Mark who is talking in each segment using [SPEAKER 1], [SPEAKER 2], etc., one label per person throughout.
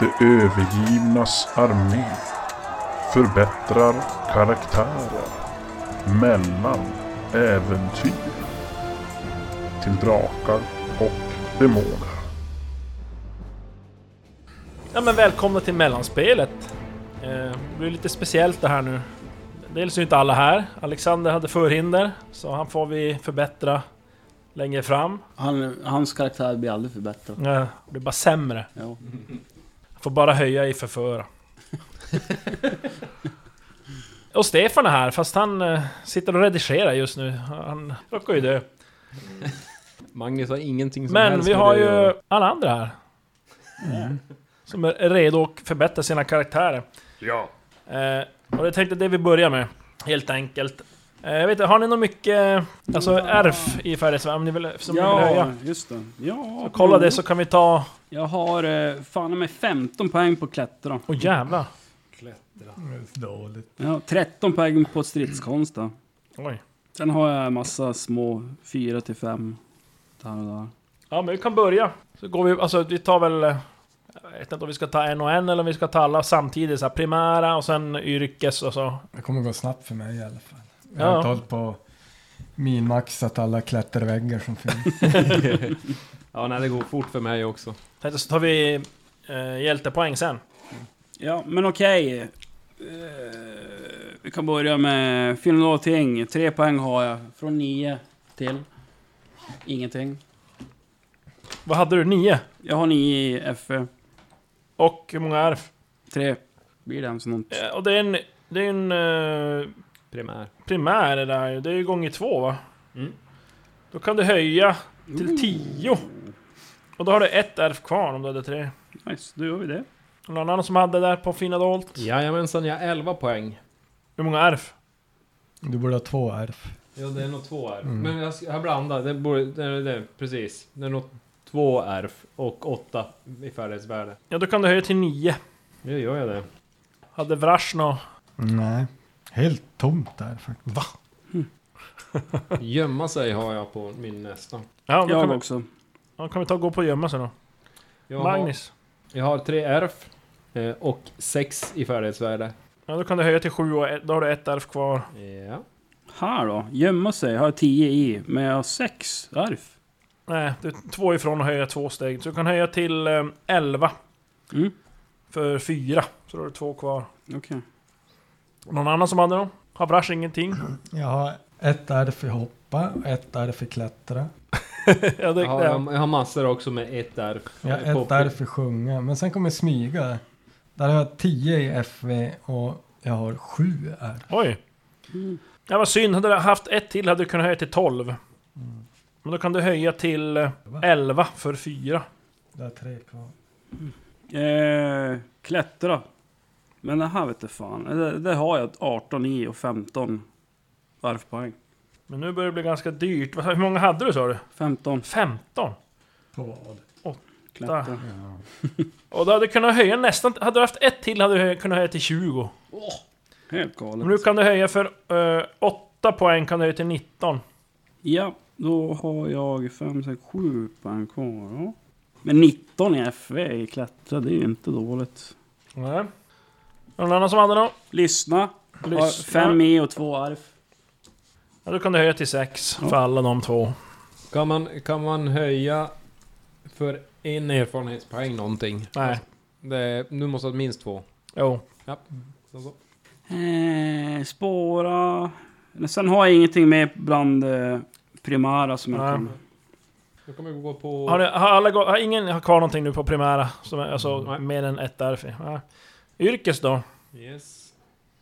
[SPEAKER 1] De övergivnas armé förbättrar karaktärer mellan äventyr till drakar och demoner.
[SPEAKER 2] Ja men välkomna till mellanspelet! Eh, Det blir lite speciellt det här nu. Dels är ju inte alla här. Alexander hade förhinder, så han får vi förbättra längre fram.
[SPEAKER 3] Han, hans karaktär blir aldrig förbättrad.
[SPEAKER 2] Eh, Det blir bara sämre.
[SPEAKER 3] Ja.
[SPEAKER 2] Han får bara höja i förföra. och Stefan är här, fast han eh, sitter och redigerar just nu. Han råkar ju dö.
[SPEAKER 4] Magnus har ingenting som
[SPEAKER 2] Men
[SPEAKER 4] helst
[SPEAKER 2] vi
[SPEAKER 4] med
[SPEAKER 2] har
[SPEAKER 4] det att
[SPEAKER 2] ju
[SPEAKER 4] göra.
[SPEAKER 2] alla andra här. Som är redo att förbättra sina karaktärer. Ja. Eh, och jag tänkte det vi börjar med, helt enkelt. Eh, jag vet inte, har ni något mycket, alltså RF i Färjestad, om ni vill, som ni vill höja?
[SPEAKER 5] just det. Ja,
[SPEAKER 2] Så kolla
[SPEAKER 5] jo.
[SPEAKER 2] det så kan vi ta...
[SPEAKER 5] Jag har eh, fan med 15 poäng på klättra.
[SPEAKER 2] Åh jävlar!
[SPEAKER 5] Jag har 13 poäng på stridskonst då.
[SPEAKER 2] Oj.
[SPEAKER 5] Sen har jag en massa små 4 till 5. Där och där.
[SPEAKER 2] Ja men vi kan börja. Så går vi, alltså vi tar väl... eh, Jag vet inte om vi ska ta en och en eller om vi ska ta alla samtidigt. Så här, primära och sen yrkes och så.
[SPEAKER 6] Det kommer gå snabbt för mig i alla fall. Jag
[SPEAKER 2] Ja.
[SPEAKER 6] har inte hållit på och minmaxat alla klätterväggar som finns.
[SPEAKER 4] Ja, nej, det går fort för mig också.
[SPEAKER 2] Tänkte så tar vi eh, hjältepoäng sen.
[SPEAKER 5] Ja, men okej. Eh, vi kan börja med film och ting. 3 poäng har jag. Från 9 till ingenting.
[SPEAKER 2] Vad hade du? Nio?
[SPEAKER 5] Jag har 9 i E. FE.
[SPEAKER 2] Och hur många RF?
[SPEAKER 5] 3 blir det ens något.
[SPEAKER 2] Eh, Och det är en... Det är en eh,
[SPEAKER 4] Primär.
[SPEAKER 2] primär det där ju. Det är ju gånger två va?
[SPEAKER 4] Mm.
[SPEAKER 2] Då kan du höja till tio. Och då har du ett RF kvar om du hade tre.
[SPEAKER 5] Nice, då gör vi det.
[SPEAKER 2] Någon annan som hade där på fina dolt?
[SPEAKER 4] Jajamensan, jag har 11 poäng.
[SPEAKER 2] Hur många RF?
[SPEAKER 6] Du borde ha två ärf.
[SPEAKER 4] Ja, det är nog två ärv.
[SPEAKER 6] Mm.
[SPEAKER 4] Men jag, sk- jag blandar. Det borde, det, är- det, är- precis. Det är nog två ärv och åtta i färdighetsvärde.
[SPEAKER 2] Ja, då kan du höja till nio.
[SPEAKER 4] Nu gör jag det.
[SPEAKER 2] Hade Vrash nå...
[SPEAKER 6] Nej, helt tomt där faktiskt.
[SPEAKER 4] Gömma sig har jag på min nästa.
[SPEAKER 2] Ja, då kan,
[SPEAKER 5] Jag
[SPEAKER 2] vi,
[SPEAKER 5] också.
[SPEAKER 2] ja, kan vi ta och gå på och gömma sig då.
[SPEAKER 4] Jag
[SPEAKER 2] Magnus.
[SPEAKER 4] Har, jag har tre ärv eh, och sex i färdighetsvärde.
[SPEAKER 2] Ja, då kan du höja till sju och ett, då har du ett RF kvar.
[SPEAKER 4] Ja.
[SPEAKER 5] Här då. Gömma sig. Har jag 10 i. Men jag har 6 arf.
[SPEAKER 2] Nej, du är två ifrån och höja två steg. Så du kan höja till eh, 11
[SPEAKER 5] Mm,
[SPEAKER 2] för fyra. Så då har du två kvar.
[SPEAKER 5] okej.
[SPEAKER 2] Någon annan som hade dem? Har Brash ingenting?
[SPEAKER 6] Jag har ett ärf i hoppa och ett ärf i klättra.
[SPEAKER 2] ja, det,
[SPEAKER 4] Jag har,
[SPEAKER 2] ja.
[SPEAKER 4] jag har massor också med ett ärv.
[SPEAKER 6] Jag
[SPEAKER 4] Eh,
[SPEAKER 6] har
[SPEAKER 4] på-
[SPEAKER 6] ett ärf i sjunga. Men sen kommer smyga. Där har jag tio i FV och jag har sju ärf.
[SPEAKER 2] Oj!
[SPEAKER 5] Mm.
[SPEAKER 2] Ja, vad synd. Hade du haft ett till hade du kunnat höja till 12. Men då kan du höja till eh, 11 för fyra.
[SPEAKER 6] Där är tre kvar.
[SPEAKER 5] Eh, klättra. Men det här vet du fan. Det, det har jag 18 i och 15 varvpoäng.
[SPEAKER 2] Men nu börjar det bli ganska dyrt. Vad- Hur många hade du sa du?
[SPEAKER 5] 15
[SPEAKER 2] 15?
[SPEAKER 6] På vad?
[SPEAKER 2] Ah.
[SPEAKER 5] klättra.
[SPEAKER 2] Och då hade du kunnat höja nästan... Hade du haft ett till hade du hö- kunnat höja till 20.
[SPEAKER 5] Helt
[SPEAKER 2] Men nu
[SPEAKER 5] galet.
[SPEAKER 2] kan du höja för 8 poäng kan du höja till 19.
[SPEAKER 5] Ja, då har jag 5, 6, 7 poäng kvar. Ja. Men 19 i FV i klättra, det är ju inte dåligt.
[SPEAKER 2] Nej. Någon annan som hade något?
[SPEAKER 5] Lyssna. Har
[SPEAKER 2] Lyssna.
[SPEAKER 5] 5 i och 2 arf.
[SPEAKER 2] Ja, då kan du höja till 6
[SPEAKER 5] Ja.
[SPEAKER 2] för alla de två.
[SPEAKER 4] Kan man, kan man höja för en erfarenhetspoäng någonting?
[SPEAKER 2] Nej.
[SPEAKER 4] Det är, nu måste ha minst två.
[SPEAKER 2] Jo.
[SPEAKER 4] Ja. Så, så.
[SPEAKER 5] Eh, spåra. Men Sen har jag ingenting med bland eh, primära som jag
[SPEAKER 2] Nej.
[SPEAKER 5] kan...
[SPEAKER 4] Då kommer vi gå på...
[SPEAKER 2] Har, ni, har, alla, gå- har ingen har kvar någonting nu på primära? Som är, alltså
[SPEAKER 4] Nej.
[SPEAKER 2] mer än ett därför. Ja. Yrkes då?
[SPEAKER 4] Yes.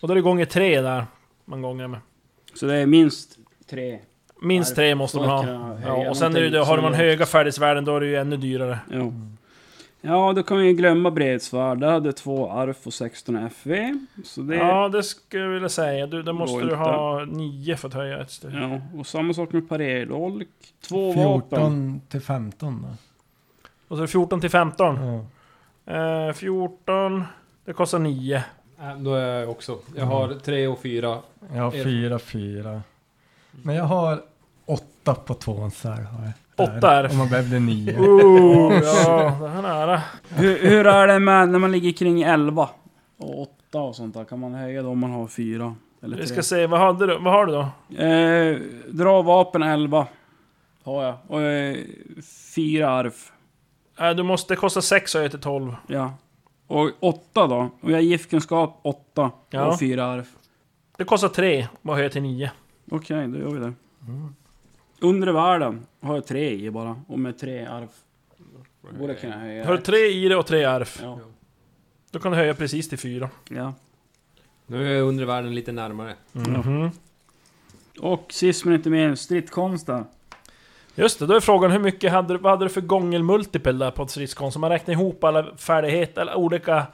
[SPEAKER 2] Och då är det gånger tre där. Man gånger med.
[SPEAKER 5] Så det är minst 3.
[SPEAKER 2] Minst tre måste man ha. Ja, och sen är det, ju- har man höga färdighetsvärden då är det ju ännu dyrare.
[SPEAKER 5] Ja. ja, då kan vi ju glömma bredsvärd. Där hade jag två arf och 16 FV. Så det... Ja.
[SPEAKER 2] Ja, det skulle jag vilja säga. Du, då måste
[SPEAKER 5] Går
[SPEAKER 2] du
[SPEAKER 5] inte.
[SPEAKER 2] ha nio för att höja ett steg.
[SPEAKER 5] Och samma sak med parerdolk. Två vapen.
[SPEAKER 6] 14 till 15 då.
[SPEAKER 2] Och så är det 14 till 15.
[SPEAKER 6] Ja.
[SPEAKER 2] Eh, 14... Det kostar 9.
[SPEAKER 4] Äh, Då är
[SPEAKER 2] Mm.
[SPEAKER 4] jag också. Jag har tre och fyra.
[SPEAKER 6] Jag har
[SPEAKER 4] Er-
[SPEAKER 6] fyra, fyra. Men jag har åtta på tvåan så här har jag.
[SPEAKER 2] Åtta är det.
[SPEAKER 6] Om man behövde nio.
[SPEAKER 2] Oh, ja, det här är nära.
[SPEAKER 5] Hur, hur är det med när man ligger kring 11? Och 8 och sånt där. Kan man höja det om man har 4? Eller
[SPEAKER 2] Vi ska
[SPEAKER 5] 3?
[SPEAKER 2] se, vad, hade du, vad har du då?
[SPEAKER 5] Eh, dra vapen 11. Har jag. Och eh, 4 arv.
[SPEAKER 2] Eh, Du måste kosta 6 och höja till 12.
[SPEAKER 5] Ja. Och 8 då. Och jag har giftkunskap 8.
[SPEAKER 2] Ja.
[SPEAKER 5] Och 4 arv.
[SPEAKER 2] Det kostar 3 och höja till 9.
[SPEAKER 5] Okej, då gör vi det.
[SPEAKER 2] Mm.
[SPEAKER 5] Undre världen har jag 3 i bara. Och med 3 arv. Borde jag kunna höja.
[SPEAKER 2] Har du 3 i det och 3 arv,
[SPEAKER 5] Ja.
[SPEAKER 2] då kan du höja precis till 4.
[SPEAKER 5] ja.
[SPEAKER 4] Nu är undervärlden lite närmare.
[SPEAKER 2] Mhm.
[SPEAKER 5] Och sist men inte minst, stridskonsten.
[SPEAKER 2] Just det, då är frågan hur mycket hade, du- vad hade du för gångelmultipel där på ett stridskonst? Om man räknar ihop alla färdigheter, alla olika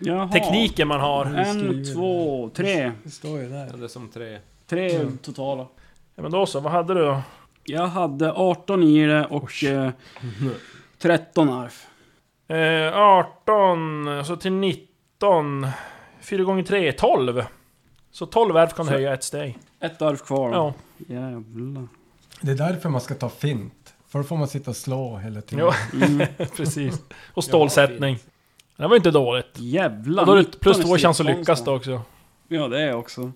[SPEAKER 5] Jaha.
[SPEAKER 2] tekniker man har.
[SPEAKER 5] En, två, tre.
[SPEAKER 6] Det står ju
[SPEAKER 4] Ja,
[SPEAKER 6] där.
[SPEAKER 4] det är som tre.
[SPEAKER 5] Tre totala.
[SPEAKER 2] Ja, men då så, vad hade du då?
[SPEAKER 5] Jag hade 18 i det och eh, 13 arv.
[SPEAKER 2] Eh, 18, så till 19. 4 gånger 3 är 12. Så 12 arv kan du höja ett steg.
[SPEAKER 5] Ett arv kvar.
[SPEAKER 2] Ja.
[SPEAKER 5] Jävlar.
[SPEAKER 6] Det är därför man ska ta fint. För då får man sitta och slå hela tiden.
[SPEAKER 2] Ja, precis. Och stålsättning. Det var ju inte dåligt.
[SPEAKER 5] Jävlar.
[SPEAKER 2] Och då är det
[SPEAKER 5] 19
[SPEAKER 2] plus
[SPEAKER 5] i
[SPEAKER 2] två chans att
[SPEAKER 5] stridskonsten.
[SPEAKER 2] lyckas då också.
[SPEAKER 5] Ja, det är jag också.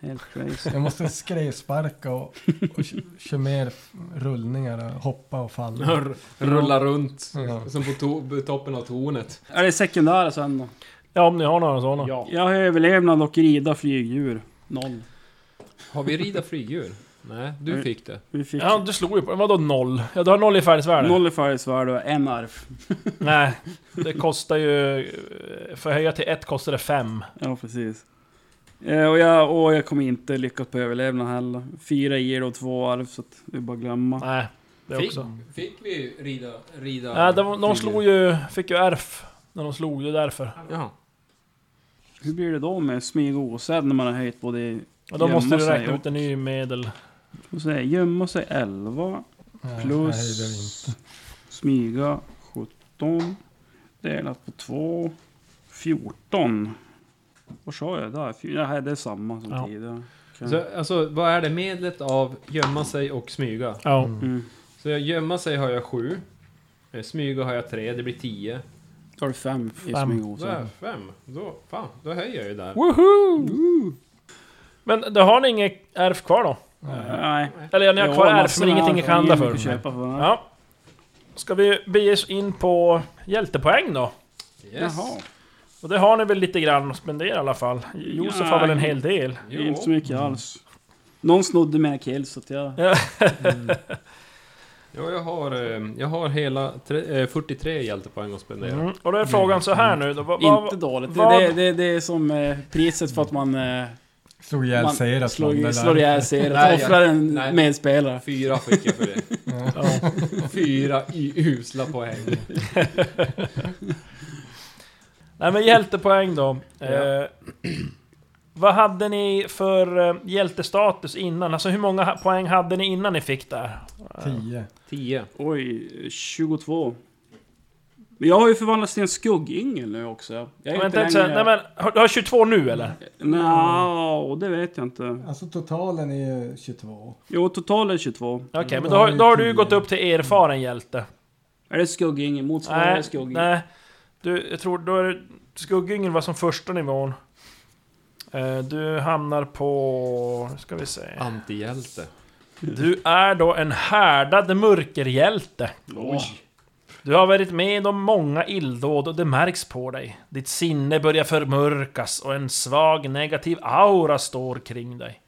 [SPEAKER 5] Helt crazy.
[SPEAKER 6] Jag måste skrevsparka och, och k- köra mer f- rullningar och hoppa och falla.
[SPEAKER 4] R- Rulla runt.
[SPEAKER 6] Ja.
[SPEAKER 4] Som på to- toppen av tornet.
[SPEAKER 5] är det sekundära sen då?
[SPEAKER 2] Ja, om ni har några sådana.
[SPEAKER 4] Ja.
[SPEAKER 5] Jag har överlevnad och rida flygdjur. Noll.
[SPEAKER 4] Har vi rida flygdjur? Nej, du fick det.
[SPEAKER 5] Vi fick
[SPEAKER 2] Ja, du slog ju på Vadå noll? Ja, du har noll i färdighetsvärde?
[SPEAKER 5] noll i färdighetsvärde och en arv.
[SPEAKER 2] Nej, det kostar ju... eh, För att höja till ett kostar det fem.
[SPEAKER 5] Ja, precis. Eh, och, jag, och jag kommer inte lyckas på överlevnad heller. Fyra i det och två arv, så att det är bara att glömma.
[SPEAKER 2] Nej, det
[SPEAKER 4] Fick,
[SPEAKER 2] också.
[SPEAKER 4] fick vi rida... rida
[SPEAKER 2] Nej, det var, någon slog ju... Fick ju ärf. När de slog, det är därför.
[SPEAKER 4] Jaha.
[SPEAKER 5] Hur blir det då med smyg och osedd när man har höjt både i...
[SPEAKER 2] Och då måste
[SPEAKER 5] Gömma
[SPEAKER 2] du
[SPEAKER 5] sig
[SPEAKER 2] räkna ut en ny medel.
[SPEAKER 5] Vad säger jag? Gömma sig 11.
[SPEAKER 6] Nej,
[SPEAKER 5] Plus-
[SPEAKER 6] nej, det är inte.
[SPEAKER 5] Smyga 17. Delat på 2. 14. Vad sa jag där? Fy- Nej, det är samma som
[SPEAKER 2] Ja.
[SPEAKER 5] tidigare. Okej.
[SPEAKER 4] Så, alltså, vad är det? Medlet av gömma sig och smyga.
[SPEAKER 2] Ja.
[SPEAKER 5] Mm.
[SPEAKER 4] Så jag gömma sig har jag sju. Eh, Smyga har jag tre, det blir tio.
[SPEAKER 5] Då har du 5 i
[SPEAKER 2] Fem.
[SPEAKER 5] smyg och
[SPEAKER 4] Då är
[SPEAKER 5] osedd.
[SPEAKER 4] jag fem. Då, fan, då höjer jag ju där.
[SPEAKER 2] Men då har ni inget ärf kvar då?
[SPEAKER 5] Nej.
[SPEAKER 2] Eller ni har
[SPEAKER 5] Ja,
[SPEAKER 2] kvar ärf
[SPEAKER 5] massor
[SPEAKER 2] men
[SPEAKER 5] med
[SPEAKER 2] ingenting
[SPEAKER 5] arv.
[SPEAKER 2] ni kan handla
[SPEAKER 5] Ingen
[SPEAKER 2] för?
[SPEAKER 5] kan köpa för.
[SPEAKER 2] Ja. Ska vi bege oss in på hjältepoäng då?
[SPEAKER 4] Yes.
[SPEAKER 5] Jaha.
[SPEAKER 2] Och det har ni väl lite grann att spendera i alla fall? Josef har väl en hel del?
[SPEAKER 5] Det är inte så mycket alls. Någon snodde mina kills så att jag...
[SPEAKER 4] Ja, jag har, eh, jag har hela tre, eh, 43 hjältepoäng att spendera.
[SPEAKER 2] Mm. Och då är frågan så här nu då. Vad,
[SPEAKER 5] Inte
[SPEAKER 2] vad,
[SPEAKER 5] dåligt. Det,
[SPEAKER 2] vad-
[SPEAKER 5] det, det, det är som eh, priset för att man eh,
[SPEAKER 6] Slog ihjäl
[SPEAKER 5] Man
[SPEAKER 6] sig i det
[SPEAKER 5] slår,
[SPEAKER 6] där.
[SPEAKER 5] slår ihjäl sig.
[SPEAKER 4] Nej, jag-
[SPEAKER 5] Offrar en
[SPEAKER 4] nej.
[SPEAKER 5] medspelare.
[SPEAKER 4] Fyra fick jag för det. Fyra i usla poäng.
[SPEAKER 2] Nej men hjältepoäng då.
[SPEAKER 4] Ja.
[SPEAKER 2] Eh, vad hade ni för eh, hjältestatus innan? Alltså hur många ha- poäng hade ni innan ni fick där?
[SPEAKER 6] Tio.
[SPEAKER 4] Tio.
[SPEAKER 5] Oj, 22. Men jag har ju förvandlats till en skuggyngel nu också. Jag är
[SPEAKER 2] Vänta,
[SPEAKER 5] inte Mm.
[SPEAKER 2] inte, nej,
[SPEAKER 5] längre...
[SPEAKER 2] men, har- du har 22 nu eller?
[SPEAKER 5] Nja, det vet jag inte.
[SPEAKER 6] Alltså totalen är ju 22.
[SPEAKER 5] Jo, totalt är 22.
[SPEAKER 2] Okej, men
[SPEAKER 6] då
[SPEAKER 2] då
[SPEAKER 6] har
[SPEAKER 2] har,
[SPEAKER 6] vi
[SPEAKER 2] då har du ju
[SPEAKER 6] tio.
[SPEAKER 2] gått upp till erfaren hjälte.
[SPEAKER 5] Är det skuggyngel? Motsvarande
[SPEAKER 2] Nej,
[SPEAKER 5] skuggyngel?
[SPEAKER 2] nej. Du, jag tror då är det... Skuggyngel var som första nivån. Eh, Du hamnar på... nu ska vi se.
[SPEAKER 4] Antihjälte.
[SPEAKER 2] Du är då en härdad mörkerhjälte.
[SPEAKER 5] Oj.
[SPEAKER 2] Du har varit med om många illdåd och det märks på dig. Ditt sinne börjar förmörkas och en svag negativ aura står kring dig.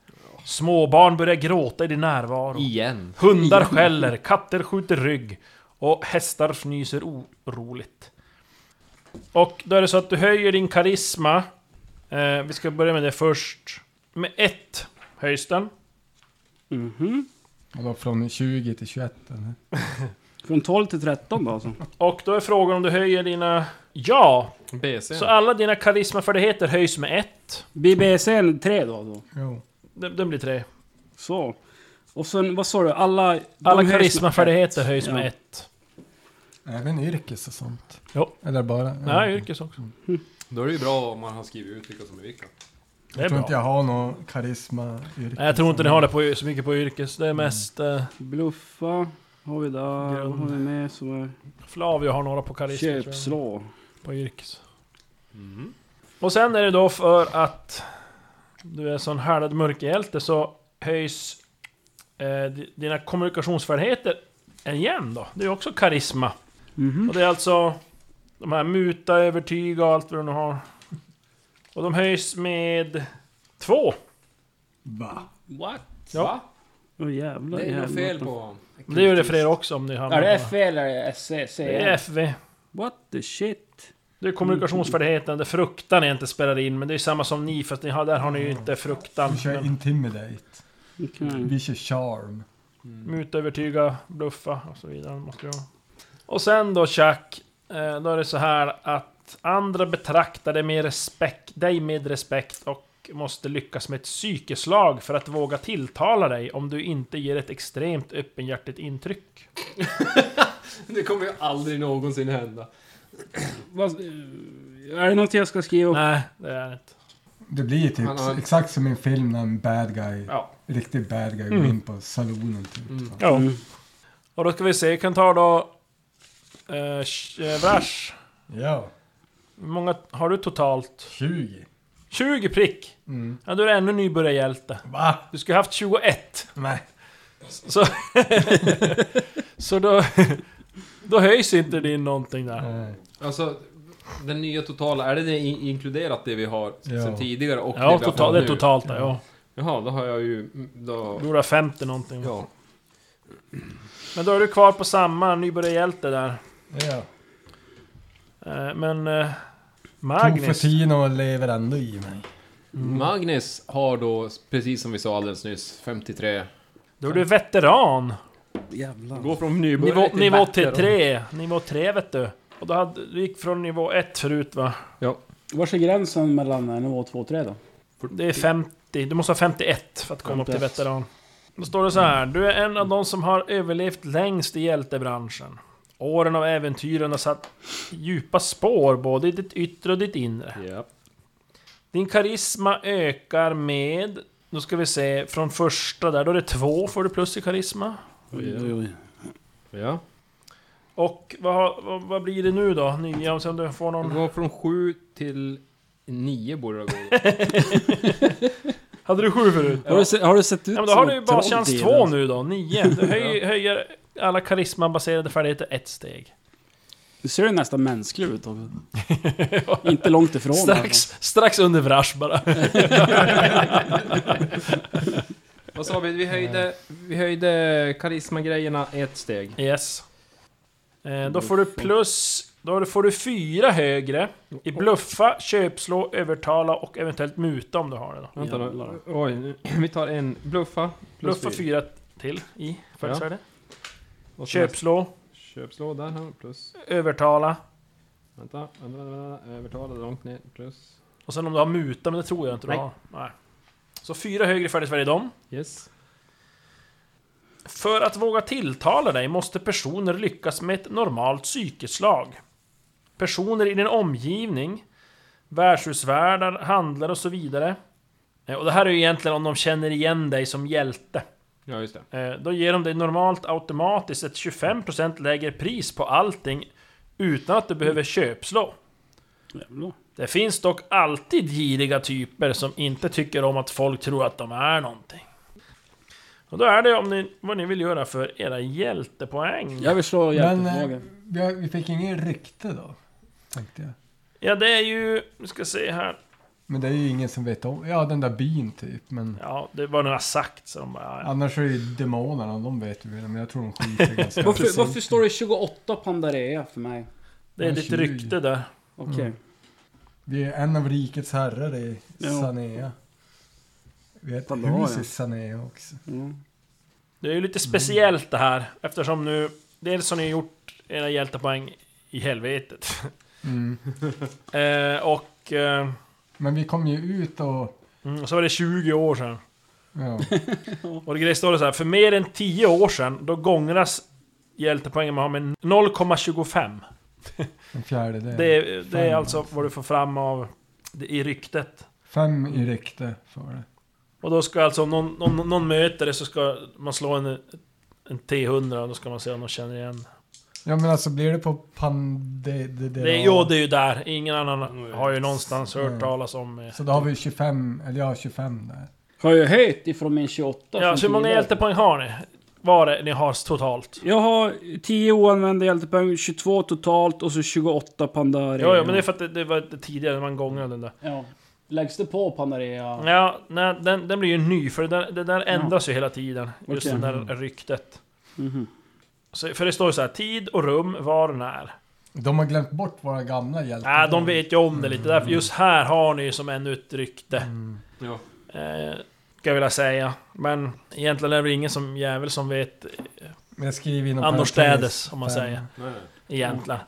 [SPEAKER 2] Småbarn börjar gråta i din närvaro.
[SPEAKER 4] Igen.
[SPEAKER 2] Hundar skäller, katter skjuter rygg och hästar fnyser oroligt. Och då är det så att du höjer din karisma. Eh, vi ska börja med det först. Med ett höjs den.
[SPEAKER 5] Mhm.
[SPEAKER 6] Vadå, från 20 till 21 eller?
[SPEAKER 5] Från 12 till 13 då alltså?
[SPEAKER 2] Och då är frågan om du höjer dina... Ja!
[SPEAKER 4] BC.
[SPEAKER 2] Så alla dina karismafärdigheter höjs med ett.
[SPEAKER 5] Blir BC 3 då? då.
[SPEAKER 6] Jo.
[SPEAKER 2] Den, den blir tre.
[SPEAKER 5] Så. Och sen, vad sa du? Alla... de
[SPEAKER 2] Alla
[SPEAKER 5] höjs med
[SPEAKER 2] karismafärdigheter höjs
[SPEAKER 5] Ja.
[SPEAKER 2] med ett.
[SPEAKER 6] Även yrkes och sånt.
[SPEAKER 2] Jo.
[SPEAKER 6] Eller bara?
[SPEAKER 2] Nej, yrkes också.
[SPEAKER 4] Då är det ju bra om man har skrivit ut vilka som är vilka.
[SPEAKER 2] Det är
[SPEAKER 6] tror
[SPEAKER 2] bra.
[SPEAKER 6] inte jag har någon karisma
[SPEAKER 2] Nej, jag tror inte ni har det på, så mycket på yrkes. Det är mest... Eh,
[SPEAKER 5] Bluffa har vi där. Vad har vi med som är...
[SPEAKER 2] Flavio har några på karisma. tror jag.
[SPEAKER 5] Köpslå.
[SPEAKER 2] På yrkes.
[SPEAKER 4] Mm.
[SPEAKER 2] Och sen är det då för att du är sån härdad mörkerhjälte så höjs eh, di- dina kommunikationsfärdigheter igen då. Det är ju också karisma.
[SPEAKER 5] Mhm.
[SPEAKER 2] Och det är alltså de här muta, övertyga och allt vad du nu har. Och de höjs med två.
[SPEAKER 6] Va?
[SPEAKER 4] What?
[SPEAKER 2] Ja.
[SPEAKER 4] Va?
[SPEAKER 5] Åh jävlar.
[SPEAKER 4] Det är något
[SPEAKER 5] jävlar.
[SPEAKER 4] fel på honom.
[SPEAKER 2] Det gör det för er också om ni hamnar
[SPEAKER 5] Är det
[SPEAKER 2] på-
[SPEAKER 5] FV eller E är det SC?
[SPEAKER 2] Det är FV.
[SPEAKER 5] What the shit?
[SPEAKER 2] Det är kommunikationsfärdigheten, det fruktan är inte spelar in, men det är ju samma som ni, fast ni har, där har ni ju inte fruktan.
[SPEAKER 6] Mm. Vi kör
[SPEAKER 2] Men
[SPEAKER 6] intimidate.
[SPEAKER 4] Mm.
[SPEAKER 5] Okej.
[SPEAKER 6] Vi kör charm.
[SPEAKER 2] muta, övertyga, bluffa och så vidare. Måste det vara. Och sen då Chuck, eh, då är det så här att andra betraktar dig med respekt, dig med respekt och måste lyckas med ett psykeslag för att våga tilltala dig om du inte ger ett extremt öppenhjärtigt intryck.
[SPEAKER 4] Det kommer ju aldrig någonsin hända.
[SPEAKER 5] Vad- Är det något jag ska skriva upp?
[SPEAKER 2] Nej, det är det inte.
[SPEAKER 6] Det blir typ
[SPEAKER 4] Han har-
[SPEAKER 6] exakt som i en film när en bad guy,
[SPEAKER 4] Ja.
[SPEAKER 6] riktig bad guy,
[SPEAKER 2] Mm.
[SPEAKER 6] går in på salonen typ.
[SPEAKER 4] Mm.
[SPEAKER 2] Ja.
[SPEAKER 5] Mm.
[SPEAKER 2] Och då ska vi se, vi kan ta då... Eh, sh- eh, Vrash.
[SPEAKER 6] Ja,
[SPEAKER 2] Hur många har du totalt?
[SPEAKER 6] 20.
[SPEAKER 2] 20 prick!
[SPEAKER 6] Mm.
[SPEAKER 2] Ja, då är du ännu nybörjarhjälte.
[SPEAKER 6] Va?
[SPEAKER 2] Du skulle haft 21.
[SPEAKER 6] Nej.
[SPEAKER 2] Så, så då, då höjs inte din någonting där.
[SPEAKER 6] Nej.
[SPEAKER 4] Alltså, den nya totala, är det, det in- inkluderat det vi har
[SPEAKER 6] Ja.
[SPEAKER 4] sen tidigare och det
[SPEAKER 2] Ja,
[SPEAKER 4] vi har
[SPEAKER 2] total,
[SPEAKER 4] fått
[SPEAKER 2] det är
[SPEAKER 4] nu?
[SPEAKER 2] totalt där, ja.
[SPEAKER 4] Jaha, då har jag ju... Då,
[SPEAKER 2] Du har 50 någonting.
[SPEAKER 4] ja.
[SPEAKER 2] Men då är du kvar på samma nybörjarhjälte där.
[SPEAKER 6] Ja.
[SPEAKER 2] Eh, Men... eh, Magnus.
[SPEAKER 6] Tofotino lever ändå i mig.
[SPEAKER 2] Mm.
[SPEAKER 4] Magnus har då, precis som vi sa alldeles nyss, 53.
[SPEAKER 2] Då är du veteran.
[SPEAKER 5] Jävlar.
[SPEAKER 4] Går från
[SPEAKER 2] Nivå,
[SPEAKER 4] nybörjare till
[SPEAKER 2] nivå
[SPEAKER 4] veteran.
[SPEAKER 2] 3. Nivå 3 vet du. Och då hade, du gick från nivå 1 förut va?
[SPEAKER 5] Var är gränsen mellan eh, nivå 2 och 3 då?
[SPEAKER 2] Det är 50, du måste ha 51 för att komma upp till
[SPEAKER 5] 51.
[SPEAKER 2] veteran. Då står det så här, du är en av de som har överlevt längst i hjältebranschen. Åren av äventyren har satt djupa spår både i ditt yttre och ditt inre.
[SPEAKER 4] Ja.
[SPEAKER 2] Din karisma ökar med, nu ska vi se, från första där, då är det två får du plus i karisma.
[SPEAKER 4] ja.
[SPEAKER 2] Och vad, har- vad, vad blir det nu då? Nya, om sen du får
[SPEAKER 4] Det
[SPEAKER 2] någon...
[SPEAKER 4] Går från 7 till 9 borde det gå.
[SPEAKER 2] Hade du sju förut?
[SPEAKER 5] Har, du, se- har du sett ut
[SPEAKER 2] Ja, men då
[SPEAKER 5] som
[SPEAKER 2] har
[SPEAKER 5] ett
[SPEAKER 2] du ju baschans 2
[SPEAKER 5] troll, Dilan?
[SPEAKER 2] nu då, 9. Du höj, höjer alla karismabaserade färdigheter ett steg.
[SPEAKER 5] Du ser ju nästan mänsklig ut. Tobbe. Inte långt ifrån. alltså.
[SPEAKER 2] Strax, strax under Vrash bara.
[SPEAKER 4] Vad sa vi? Vi höjde, vi höjde karismagrejerna ett steg.
[SPEAKER 2] Yes. Eh, då får du plus... Då får du fyra högre i bluffa, köpslå, övertala och eventuellt muta om du har det då.
[SPEAKER 4] Vänta nu.
[SPEAKER 5] Jävlar.
[SPEAKER 4] Oj, nu- vi tar en bluffa. plus
[SPEAKER 2] Bluffa fyra till i färdigvärde.
[SPEAKER 4] Och sen nästa-
[SPEAKER 2] Köpslå,
[SPEAKER 4] Köpslå där har vi plus.
[SPEAKER 2] övertala.
[SPEAKER 4] Vänta, vänta, vänta, vänta. Eh, Övertala långt ner. Plus.
[SPEAKER 2] Och sen om du har muta, men det tror jag inte du
[SPEAKER 4] Nej.
[SPEAKER 2] har. Nej. Så fyra högre färdigheter i dem.
[SPEAKER 4] Yes.
[SPEAKER 2] För att våga tilltala dig måste personer lyckas med ett normalt psykeslag. Personer i din omgivning, värdshusvärdar, handlare och så vidare. Eh, Och det här är ju egentligen om de känner igen dig som hjälte.
[SPEAKER 4] Ja, just det.
[SPEAKER 2] Eh, Då ger de dig normalt automatiskt ett 25% lägre pris på allting utan att du behöver köpslå.
[SPEAKER 5] Jävlar.
[SPEAKER 2] Det finns dock alltid giriga typer som inte tycker om att folk tror att de är någonting. Och då är det om ni, vad ni vill göra för era hjältepoäng. Ja,
[SPEAKER 5] Jag vill slå
[SPEAKER 6] Men
[SPEAKER 5] hjältefråga.
[SPEAKER 6] eh, vi, har, vi fick ingen rykte då, tänkte jag.
[SPEAKER 2] det är ju... Vi ska se här.
[SPEAKER 6] Men det är ju ingen som vet om. Ja, den där byn typ. Men
[SPEAKER 2] Ja, det var några sagt så de bara... Ja,
[SPEAKER 6] annars är det ju demonerna, de vet ju. Men jag tror de skiter ganska
[SPEAKER 5] Varför, varför står det 28 Pandarea för mig?
[SPEAKER 2] det är ditt rykte där.
[SPEAKER 5] Okej.
[SPEAKER 6] Vi är en av rikets herrar i
[SPEAKER 5] Ja.
[SPEAKER 6] Sanea. Vi har ett
[SPEAKER 5] Fan, det har
[SPEAKER 6] hus
[SPEAKER 5] jag.
[SPEAKER 6] i Sanea också.
[SPEAKER 5] Mm.
[SPEAKER 2] Det är ju lite speciellt det här eftersom nu... Dels har ni gjort era hjältepoäng i helvetet.
[SPEAKER 6] Mm.
[SPEAKER 2] eh, och... Eh,
[SPEAKER 6] Men vi kom ju ut och...
[SPEAKER 2] mm, så var det 20 år sedan.
[SPEAKER 6] Ja,
[SPEAKER 2] Och det grejen står det så här, för mer än 10 år sedan, då gångras hjältepoängen man har med 0,25.
[SPEAKER 6] en fjärdedel.
[SPEAKER 2] Det, är- det är
[SPEAKER 6] Fan.
[SPEAKER 2] alltså vad du får fram av det, i ryktet.
[SPEAKER 6] Fem i rykte för det.
[SPEAKER 2] Och då ska alltså, om någon, någon, någon möter det så ska man slå en, en T100 och då ska man se om de känner igen.
[SPEAKER 6] Ja men alltså blir det på pande... Det, det,
[SPEAKER 2] Det, jo, det är ju där. Ingen annan har ju någonstans hört talas om... eh.
[SPEAKER 6] Så då har vi 25, eller jag har 25 där.
[SPEAKER 5] Har ju höjt ifrån min 28
[SPEAKER 2] Ja,
[SPEAKER 5] från
[SPEAKER 2] så hur många
[SPEAKER 5] tidigare.
[SPEAKER 2] hjältepoäng har ni? Var det ni har totalt?
[SPEAKER 5] Jag har 10 oanvända hjältepoäng, 22 totalt och så 28 pandare.
[SPEAKER 2] Jo, jo, men det är för att det, det var det tidigare, man gångade den där.
[SPEAKER 5] Ja. Läggs det på Panarea?
[SPEAKER 2] Ja, nej, den, den blir ju ny, för det där, det där ändras ju hela tiden. Just
[SPEAKER 5] Okej.
[SPEAKER 2] det där ryktet.
[SPEAKER 5] Mhm.
[SPEAKER 2] Så, för det står ju så här, tid och rum, var och när.
[SPEAKER 6] De har glömt bort våra gamla hjältar.
[SPEAKER 2] Nej, de vet ju om det lite. Därför just här har ni ju som ännu ett rykte.
[SPEAKER 6] Mm.
[SPEAKER 4] Ja.
[SPEAKER 2] Eh, ska jag vilja säga. Men egentligen är det väl ingen som jävel som vet eh,
[SPEAKER 6] Men jag skriver inom
[SPEAKER 2] annorstädes,
[SPEAKER 6] parentes
[SPEAKER 2] om man
[SPEAKER 6] fem.
[SPEAKER 2] säger.
[SPEAKER 4] Nej, nej.
[SPEAKER 2] Egentligen.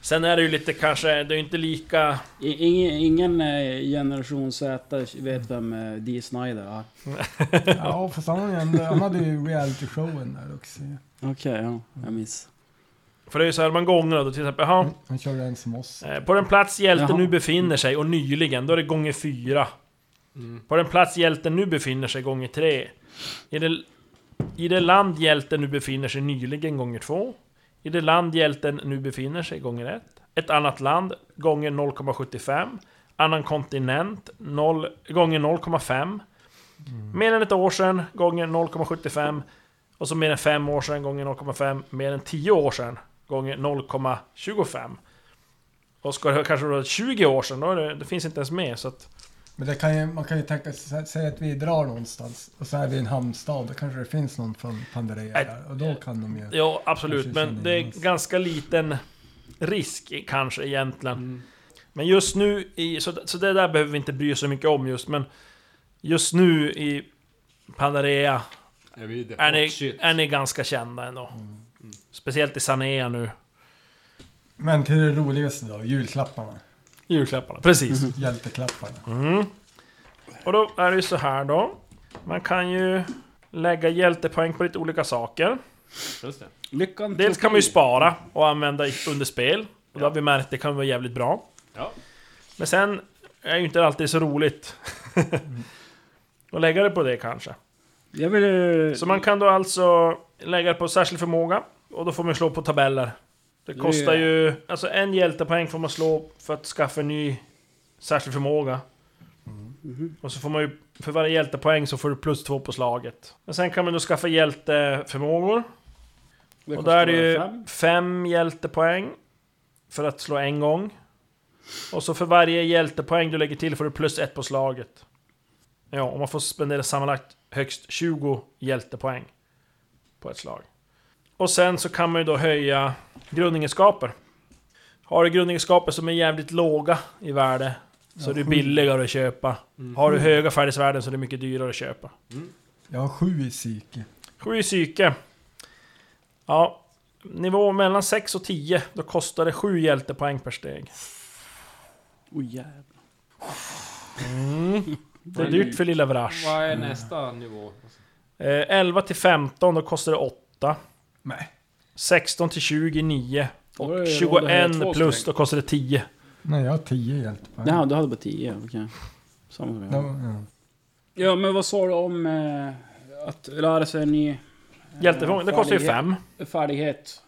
[SPEAKER 2] Sen är det ju lite kanske, det är ju inte lika...
[SPEAKER 5] I- Ingen, ingen eh, generation Z vet vem eh, Dee Snider är.
[SPEAKER 6] Ja, fast han, hade ju ändå- han hade ju reality-showen där också.
[SPEAKER 5] Okej, ja. Jag miss.
[SPEAKER 2] För det är ju så här man gånger då, till exempel, jaha,
[SPEAKER 6] Han körde en som oss.
[SPEAKER 2] Eh, På den plats hjälten
[SPEAKER 5] Jaha.
[SPEAKER 2] nu befinner sig och nyligen, då är det gånger fyra. På den plats hjälten nu befinner sig gånger tre. I det, I det land hjälten nu befinner sig nyligen gånger två. I det land hjälten nu befinner sig gånger ett. Ett annat land gånger 0,75. Annan kontinent noll gånger 0,5. Mer än ett år sedan gånger 0,75. Och så mer än fem år sedan gånger 0,5. Mer än tio år sedan gånger 0,25. Och ska det kanske vara 20 år sedan, då är det, det finns inte ens med. Så att,
[SPEAKER 6] Men det kan ju, man kan ju tänka sig, säg att vi drar någonstans och så är vi i en hamnstad. Då kanske det finns någon från Pandareya
[SPEAKER 2] Nej.
[SPEAKER 6] där. Och då kan de ju...
[SPEAKER 2] ja, absolut.
[SPEAKER 6] Kanske
[SPEAKER 2] Men
[SPEAKER 6] känner
[SPEAKER 2] det är
[SPEAKER 6] igen oss.
[SPEAKER 2] ganska liten risk kanske egentligen. Men just nu, i, så, så det där behöver vi inte bry oss så mycket om just. Men just nu i Panarea
[SPEAKER 4] Är vi det?
[SPEAKER 2] är, ni,
[SPEAKER 4] Oh, shit.
[SPEAKER 2] är ni ganska kända ändå. Speciellt i Sanea nu.
[SPEAKER 6] Men till det roligaste då, julklapparna. Mm.
[SPEAKER 2] Julklapparna. Precis.
[SPEAKER 6] Hjälteklapparna.
[SPEAKER 2] Och då är det ju så här då. Man kan ju lägga hjältepoäng på lite olika saker.
[SPEAKER 4] Just det.
[SPEAKER 5] Lyckan
[SPEAKER 2] Dels kan man ju spara och använda i- under spel. Och då har vi märkt att det kan vara jävligt bra.
[SPEAKER 4] Ja.
[SPEAKER 2] Men sen är ju inte alltid så roligt. och lägga det på det kanske.
[SPEAKER 5] Jag vill eh, ju...
[SPEAKER 2] Så man kan då alltså lägga det på särskild förmåga. Och då får man slå på tabeller. Det
[SPEAKER 5] Det
[SPEAKER 2] kostar
[SPEAKER 5] är-
[SPEAKER 2] ju... Alltså en hjältepoäng får man slå för att skaffa en ny särskild förmåga.
[SPEAKER 5] mhm.
[SPEAKER 2] Och så får man ju... För varje hjältepoäng så får du plus två på slaget. Men sen kan man då skaffa hjälteförmågor.
[SPEAKER 5] Det
[SPEAKER 2] Och där är det ju
[SPEAKER 5] kostar fem.
[SPEAKER 2] fem hjältepoäng för att slå en gång. Och så för varje hjältepoäng du lägger till får du plus ett på slaget. Ja, och man får spendera sammanlagt högst 20 hjältepoäng på ett slag. Och sen så kan man ju då höja grundegenskaper. Har du grundegenskaper som är jävligt låga i värde så är det billigare att köpa.
[SPEAKER 5] Mm.
[SPEAKER 2] Har du höga färdighetsvärden så är det mycket dyrare att köpa.
[SPEAKER 6] Jag har sju i psyke.
[SPEAKER 2] Sju i psyke. Ja, nivå mellan 6 och 10, då kostar det 7 hjältepoäng per steg.
[SPEAKER 5] Oj, jävlar. Mm.
[SPEAKER 2] Det är dyrt för lilla Vrash.
[SPEAKER 4] Vad är nästa nivå?
[SPEAKER 2] Eh, 11 till 15, då kostar det 8.
[SPEAKER 6] Nej.
[SPEAKER 2] 16 till 20, 9.
[SPEAKER 5] Då är
[SPEAKER 2] Och
[SPEAKER 5] det- då är det
[SPEAKER 2] 21
[SPEAKER 5] två
[SPEAKER 2] plus,
[SPEAKER 5] sträng.
[SPEAKER 2] då kostar det 10.
[SPEAKER 6] Nej, jag har tio hjältepoäng.
[SPEAKER 5] Jaha, du hade bara 10, okej. Samma som jag.
[SPEAKER 6] Då- ja.
[SPEAKER 5] Ja, men vad sa du om eh, att lära sig en ny eh,
[SPEAKER 2] Hjälteförmåga, det kostar ju
[SPEAKER 5] färdighet.
[SPEAKER 2] 5.
[SPEAKER 5] färdighet?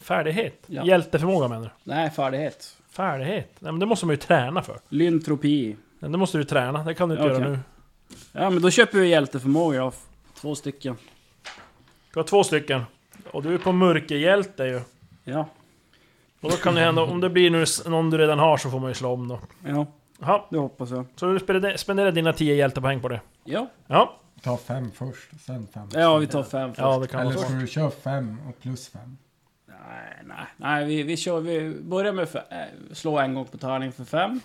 [SPEAKER 2] Färdighet?
[SPEAKER 5] Ja.
[SPEAKER 2] Hjälteförmåga menar du?
[SPEAKER 5] Nej, färdighet.
[SPEAKER 2] Färdighet? Nej men det måste man ju träna för.
[SPEAKER 5] Lyntropi.
[SPEAKER 2] Nej, Det måste du träna, det kan du inte
[SPEAKER 5] Okej.
[SPEAKER 2] göra nu.
[SPEAKER 5] Ja, men då köper vi hjälteförmåga av två stycken.
[SPEAKER 2] Du har två stycken. Och du är på mörkerhjälte ju.
[SPEAKER 5] Ja,
[SPEAKER 2] Och då kan det hända, om det blir nu s- någon du redan har så får man ju slå om då.
[SPEAKER 5] ja,
[SPEAKER 2] Jaha,
[SPEAKER 5] det hoppas jag.
[SPEAKER 2] så du spende- spenderar dina 10 hjältepoäng på det?
[SPEAKER 5] Ja,
[SPEAKER 2] Ja,
[SPEAKER 6] Ta fem först, och sen fem.
[SPEAKER 5] ja vi tar fem först.
[SPEAKER 2] ja det kan
[SPEAKER 6] Eller
[SPEAKER 2] vara så.
[SPEAKER 6] ska du köra fem och plus fem?
[SPEAKER 5] Nej, nej, nej vi, vi kör. Vi börjar med för, eh, slå en gång på tärning för fem.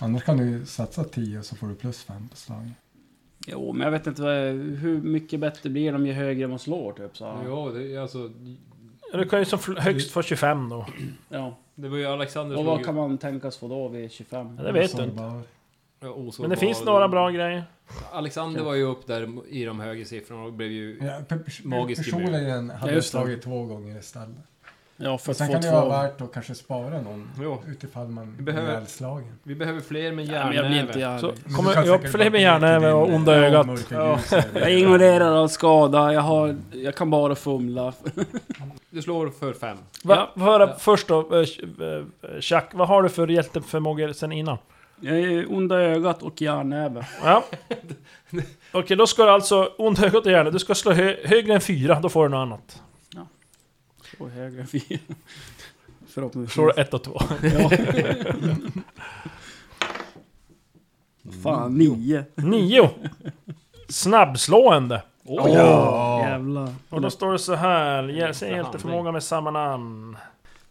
[SPEAKER 6] Annars kan du ju satsa 10 och så får du plus 5 på slaget.
[SPEAKER 5] Jo, men jag vet inte vad, hur mycket bättre blir de ju högre man slår typ. Så.
[SPEAKER 4] Jo, det, är alltså,
[SPEAKER 2] Du kan ju som fl- högst få 25 då.
[SPEAKER 5] Ja.
[SPEAKER 4] det var ju Alexander
[SPEAKER 5] Och
[SPEAKER 4] som
[SPEAKER 5] vad kan man tänkas få då vid 25?
[SPEAKER 2] Ja, det vet du inte.
[SPEAKER 6] Sårbar.
[SPEAKER 2] Men det finns några bra grejer.
[SPEAKER 4] Alexander var ju upp där i de högre siffrorna och blev ju...
[SPEAKER 6] Ja, pe- pers-
[SPEAKER 4] Magisk
[SPEAKER 6] personligen hade
[SPEAKER 5] Ja,
[SPEAKER 6] jag
[SPEAKER 5] just det.
[SPEAKER 6] slagit två gånger istället.
[SPEAKER 5] Ja, för att
[SPEAKER 6] Sen
[SPEAKER 5] få
[SPEAKER 6] kan det
[SPEAKER 5] två.
[SPEAKER 6] ju vara värt att kanske spara någon
[SPEAKER 4] Jo.
[SPEAKER 6] utifall man
[SPEAKER 4] Vi
[SPEAKER 6] blir
[SPEAKER 4] behöver-
[SPEAKER 6] ihjälslagen.
[SPEAKER 4] Vi behöver fler med
[SPEAKER 5] Ja, men jag blir inte
[SPEAKER 4] järnnäve.
[SPEAKER 5] jag.
[SPEAKER 2] Så
[SPEAKER 6] Men du
[SPEAKER 2] kommer
[SPEAKER 6] kan
[SPEAKER 2] jag upp
[SPEAKER 6] säkert
[SPEAKER 2] fler
[SPEAKER 6] bara
[SPEAKER 2] med
[SPEAKER 6] gå till
[SPEAKER 2] hjärnnäve
[SPEAKER 6] din,
[SPEAKER 2] och
[SPEAKER 6] eh,
[SPEAKER 2] onda ögat.
[SPEAKER 6] mörka
[SPEAKER 2] Ja.
[SPEAKER 6] ljus eller-
[SPEAKER 5] Jag ignorerar all skada, jag, har, jag kan bara fumla.
[SPEAKER 4] Du slår för fem.
[SPEAKER 2] Va, få höra
[SPEAKER 4] Ja.
[SPEAKER 2] först då, eh, eh, Chuck, vad har du för hjälteförmågor sen innan?
[SPEAKER 5] Jag är onda ögat och järnnäve.
[SPEAKER 2] Ja. Okej, då ska du alltså... Ont ögat och hjärna. Du ska slå hö högre än fyra, då får du något annat.
[SPEAKER 5] Och högre än fyra. Förhoppningsvis.
[SPEAKER 2] Slår du ett och två.
[SPEAKER 5] Fan, nio.
[SPEAKER 2] Nio! Snabbslående.
[SPEAKER 4] Oj!
[SPEAKER 5] Jävlar.
[SPEAKER 2] Och då står det så här. Hjäl- Säg hjälteförmåga med samma namn.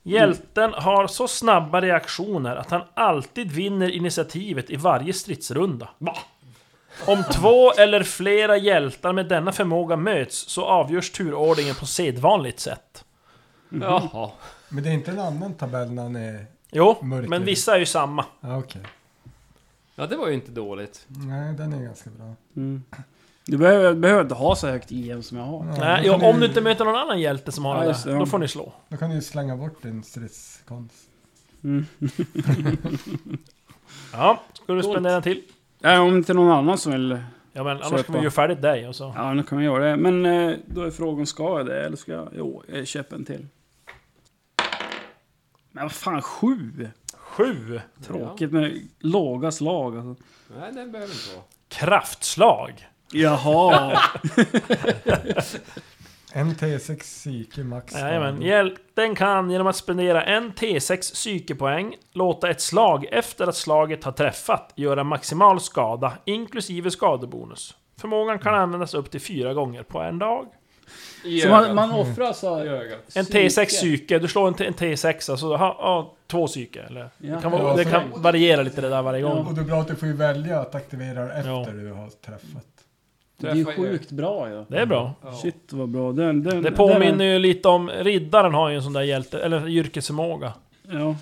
[SPEAKER 2] Hjälten har så snabba reaktioner att han alltid vinner initiativet i varje stridsrunda. Om två eller flera hjältar med denna förmåga möts så avgörs turordningen på sedvanligt sätt.
[SPEAKER 4] Jaha.
[SPEAKER 6] Men det är inte en annan tabell när han är...
[SPEAKER 2] Jo,
[SPEAKER 6] Mörker.
[SPEAKER 2] men vissa är ju samma.
[SPEAKER 6] Ja, okej.
[SPEAKER 4] Ja, det var ju inte dåligt.
[SPEAKER 6] Nej, den är ganska bra.
[SPEAKER 5] Mm. Du behöver, behöver inte ha så högt IM som jag har.
[SPEAKER 6] Ja,
[SPEAKER 2] Nej,
[SPEAKER 6] då, kan
[SPEAKER 2] ja, om
[SPEAKER 6] ni,
[SPEAKER 2] du inte möter någon annan hjälte som har
[SPEAKER 5] Ja,
[SPEAKER 2] det
[SPEAKER 5] just det,
[SPEAKER 2] där,
[SPEAKER 5] ja.
[SPEAKER 2] då får ni slå.
[SPEAKER 6] då kan du ju slänga bort din stridskonst.
[SPEAKER 2] Ja, ska du
[SPEAKER 5] Coolt.
[SPEAKER 2] spendera en till?
[SPEAKER 5] Nej, om inte någon annan som vill...
[SPEAKER 2] Ja men annars
[SPEAKER 5] Köpa.
[SPEAKER 2] ska vi göra färdigt dig och så.
[SPEAKER 5] Ja, nu kan vi göra det. Men eh, då är frågan, ska jag det eller ska jag... Jo, jag köper en till. Men vad fan, sju!
[SPEAKER 2] Sju!
[SPEAKER 5] Tråkigt med låga slag alltså.
[SPEAKER 4] Nej, den behöver inte vara.
[SPEAKER 2] Kraftslag!
[SPEAKER 5] Jaha!
[SPEAKER 6] En T6 psyke max.
[SPEAKER 2] Jajamän. Hjälten kan genom att spendera en T6 psykepoäng låta ett slag efter att slaget har träffat göra maximal skada inklusive skadebonus. Förmågan kan användas upp till fyra gånger på en dag.
[SPEAKER 4] I
[SPEAKER 5] Så man,
[SPEAKER 4] ögat.
[SPEAKER 5] man offrar så
[SPEAKER 4] I
[SPEAKER 5] här...
[SPEAKER 4] ögat.
[SPEAKER 2] En T6 psyke, du slår en, T- en T6 alltså, ha, ha, två psyke eller? Det kan, vara,
[SPEAKER 6] Ja,
[SPEAKER 2] det
[SPEAKER 6] så-
[SPEAKER 2] kan variera lite det där varje gång.
[SPEAKER 6] Och det är bra att du får ju välja att aktivera det
[SPEAKER 2] Ja.
[SPEAKER 6] efter du har träffat.
[SPEAKER 5] Det är sjukt bra ju.
[SPEAKER 2] Det är bra.
[SPEAKER 4] Ja.
[SPEAKER 5] Shit vad bra. Den, den,
[SPEAKER 2] Det påminner ju lite om, riddaren har ju en sån där hjälte, eller yrkesförmåga.
[SPEAKER 5] den, ja.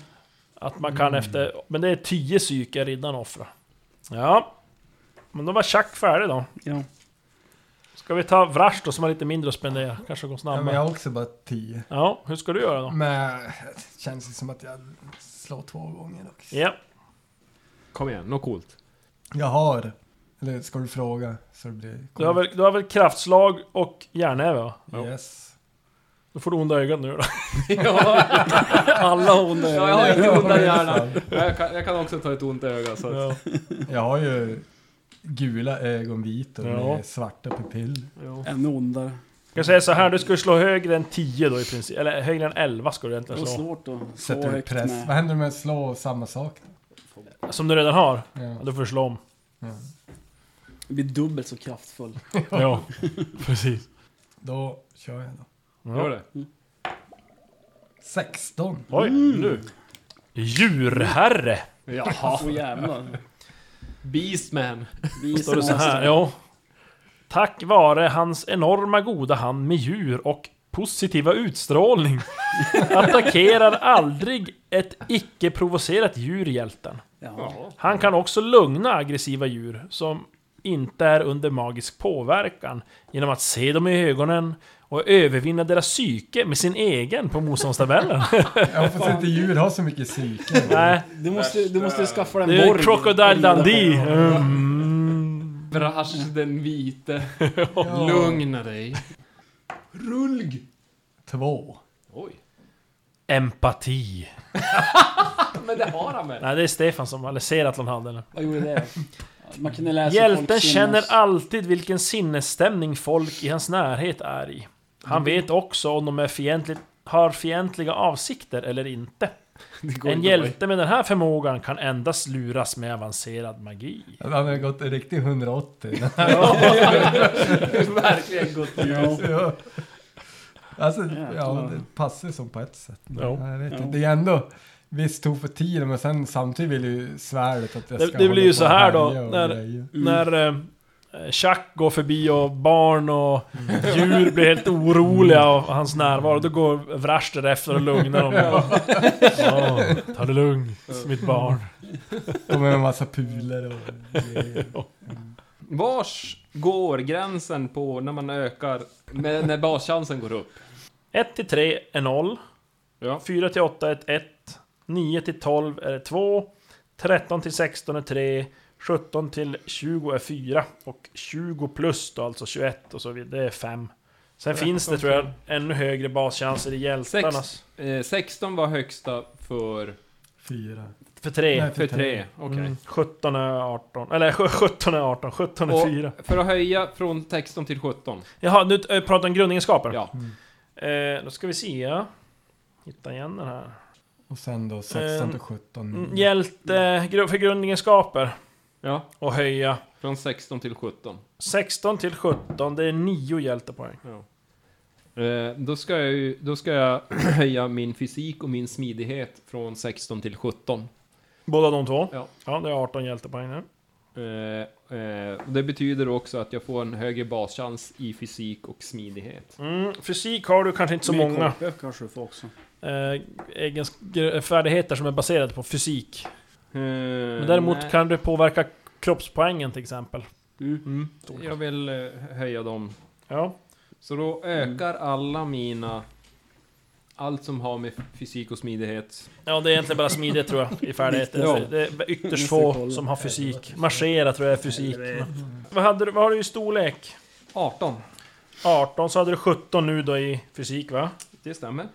[SPEAKER 2] Att man kan efter, men det är 10 psyke riddaren offrar. Ja. Men då var Chuck färdig då.
[SPEAKER 5] Ja.
[SPEAKER 2] Ska vi ta Vrash då som har lite mindre att spendera? Kanske går
[SPEAKER 6] Ja, men
[SPEAKER 2] snabbare.
[SPEAKER 6] jag Mm.
[SPEAKER 2] Ja,
[SPEAKER 6] har också bara 10.
[SPEAKER 2] hur ska du göra då?
[SPEAKER 6] Men det känns ju som att jag slår två gånger också.
[SPEAKER 2] Ja.
[SPEAKER 4] Kom igen, något coolt.
[SPEAKER 6] Jag har. Eller ska du fråga? Så det blir...
[SPEAKER 2] Du har, väl, du har väl kraftslag och järnnäve va?
[SPEAKER 6] Yes.
[SPEAKER 2] Då får du onda ögat nu då.
[SPEAKER 4] ja,
[SPEAKER 5] Alla onda
[SPEAKER 4] jag har inte
[SPEAKER 6] Ja,
[SPEAKER 4] onda
[SPEAKER 6] det är
[SPEAKER 4] hjärnan.
[SPEAKER 6] sant.
[SPEAKER 4] Jag kan, jag kan också ta ett ont öga. Så att,
[SPEAKER 2] Ja.
[SPEAKER 6] Jag har ju gula ögon vita
[SPEAKER 2] Ja.
[SPEAKER 6] med svarta pupiller.
[SPEAKER 2] Jo.
[SPEAKER 5] Ännu ondare.
[SPEAKER 2] Ska jag säga så här, du ska ju slå högre än 10 då i princip. Eller högre än 11 ska du
[SPEAKER 5] Det
[SPEAKER 2] egentligen
[SPEAKER 5] var
[SPEAKER 2] slå.
[SPEAKER 5] svårt att slå
[SPEAKER 6] Sätter upp
[SPEAKER 5] högt
[SPEAKER 6] press.
[SPEAKER 5] med.
[SPEAKER 6] Vad händer om jag slår samma sak? Då?
[SPEAKER 2] Som du redan har? Ja,
[SPEAKER 6] Ja.
[SPEAKER 2] då får du slå om.
[SPEAKER 5] Det blir dubbelt så kraftfull.
[SPEAKER 2] Ja, precis.
[SPEAKER 6] då kör jag då.
[SPEAKER 4] gör det.
[SPEAKER 6] 16.
[SPEAKER 2] Oj, nu. Djurherre.
[SPEAKER 4] Jaha.
[SPEAKER 5] Åh jävlar.
[SPEAKER 4] Beastman.
[SPEAKER 5] Vi
[SPEAKER 2] Står det så här, ja. Tack vare hans enorma goda hand med djur och positiva utstrålning attackerar aldrig ett icke-provocerat djur hjälten.
[SPEAKER 5] Ja.
[SPEAKER 2] Han kan också lugna aggressiva djur som inte är under magisk påverkan genom att se dem i ögonen och övervinna deras psyke med sin egen på motståndstabellen.
[SPEAKER 6] Jag hoppas inte djur har så mycket psyke.
[SPEAKER 2] Nej,
[SPEAKER 5] Du måste, du måste skaffa den
[SPEAKER 2] det är ju Crocodile Dundee. Mm.
[SPEAKER 4] Brash den vite.
[SPEAKER 6] Ja.
[SPEAKER 4] Lugna dig. Rulg.
[SPEAKER 6] Två.
[SPEAKER 4] Oj.
[SPEAKER 2] Empati.
[SPEAKER 4] Men det har han väl?
[SPEAKER 2] Nej, det är Stefan som, eller ser att han hade den.
[SPEAKER 5] Vad gjorde det? Man kunde läsa
[SPEAKER 4] Alltså,
[SPEAKER 2] Hjälten
[SPEAKER 5] folks
[SPEAKER 2] känner
[SPEAKER 5] sinnes-
[SPEAKER 2] alltid vilken sinnesstämning folk i hans närhet är i.
[SPEAKER 4] Mm.
[SPEAKER 2] Han vet också om de är fientligt, har fientliga avsikter eller inte.
[SPEAKER 4] går
[SPEAKER 2] En
[SPEAKER 4] inte
[SPEAKER 2] hjälte med den här förmågan kan endast luras med avancerad magi.
[SPEAKER 6] Han har gått en riktig 180.
[SPEAKER 4] Verkligen gott ljus.
[SPEAKER 6] Ja. Alltså,
[SPEAKER 5] Jävlar.
[SPEAKER 6] ja, det passar ju som på ett sätt. Men
[SPEAKER 2] Ja.
[SPEAKER 6] Jag vet
[SPEAKER 5] Ja.
[SPEAKER 6] inte. Det är ändå... Visst tog för tiden, men sen samtidigt vill ju svärdet att jag
[SPEAKER 2] Det-
[SPEAKER 6] ska
[SPEAKER 2] det blir
[SPEAKER 6] hålla
[SPEAKER 2] ju
[SPEAKER 6] på
[SPEAKER 2] så
[SPEAKER 6] och
[SPEAKER 2] här då,
[SPEAKER 6] härja och
[SPEAKER 2] när-
[SPEAKER 6] grejer.
[SPEAKER 2] När eh, Chuck går förbi och barn och
[SPEAKER 4] Mm.
[SPEAKER 2] djur blir helt oroliga av hans närvaro, då går Vrash därefter och lugnar dem. Ja, ta det lugnt, mitt barn.
[SPEAKER 6] Kommer med en massa puler och grejer.
[SPEAKER 4] Vars går gränsen på när man ökar, med, när baschansen går upp?
[SPEAKER 2] 1 till 3 är 0.
[SPEAKER 4] Ja.
[SPEAKER 2] 4 till 8 är ett 1, 9 till 12 är ett 2, 13 till 16 är 3, 17 till 20 är 4 och 20 plus då, alltså 21 och så vidare, det är 5. Sen finns det tror jag ännu högre baschanser i hjältarnas.
[SPEAKER 4] Eh, 16 var högsta för,
[SPEAKER 6] Fyra.
[SPEAKER 2] För 3.
[SPEAKER 6] Nej,
[SPEAKER 4] för 3. Okej.
[SPEAKER 2] Mm. 17 är 18, eller 17 är 18, 17 är
[SPEAKER 4] Och-
[SPEAKER 2] 4.
[SPEAKER 4] För att höja från 16 till 17.
[SPEAKER 2] Jaha, nu eh, pratar vi om grundegenskaper.
[SPEAKER 4] Ja.
[SPEAKER 6] Mm.
[SPEAKER 2] Eh, då ska vi se, ja. Hitta igen den här.
[SPEAKER 6] Och sen då 16
[SPEAKER 2] Ehm,
[SPEAKER 6] till 17.
[SPEAKER 2] Mm, Hjälte, gru- för grundegenskaper
[SPEAKER 4] ja.
[SPEAKER 2] och höja.
[SPEAKER 4] Från 16 till 17.
[SPEAKER 2] 16 till 17, det är 9 hjältepoäng.
[SPEAKER 4] Eh, då, ska jag ju, då ska jag höja min fysik och min smidighet från 16 till 17.
[SPEAKER 2] Båda de två?
[SPEAKER 4] Ja.
[SPEAKER 2] Ja, det är 18 hjältepoäng nu.
[SPEAKER 4] Eh, eh, och det betyder också att jag får en högre baschans i fysik och smidighet.
[SPEAKER 2] Mm, fysik har du kanske inte så
[SPEAKER 5] Mer
[SPEAKER 2] många
[SPEAKER 5] KP kanske du får också.
[SPEAKER 2] eh, egens- gr- färdigheter som är baserade på fysik.
[SPEAKER 4] Eh,
[SPEAKER 2] Men däremot
[SPEAKER 4] nej.
[SPEAKER 2] kan du påverka kroppspoängen till exempel.
[SPEAKER 4] Mm, jag vill eh, höja dem.
[SPEAKER 2] Ja.
[SPEAKER 4] Så då
[SPEAKER 2] Mm.
[SPEAKER 4] ökar alla mina... Allt som har med fysik och smidighet.
[SPEAKER 2] ja, det är egentligen bara smidighet tror jag i färdigheter.
[SPEAKER 4] Ja.
[SPEAKER 2] Det är ytterst få som har fysik. Marschera tror jag är fysik. Vad, hade du, vad har du i storlek?
[SPEAKER 4] 18.
[SPEAKER 2] 18, så hade du 17 nu då i fysik va?
[SPEAKER 4] Det stämmer.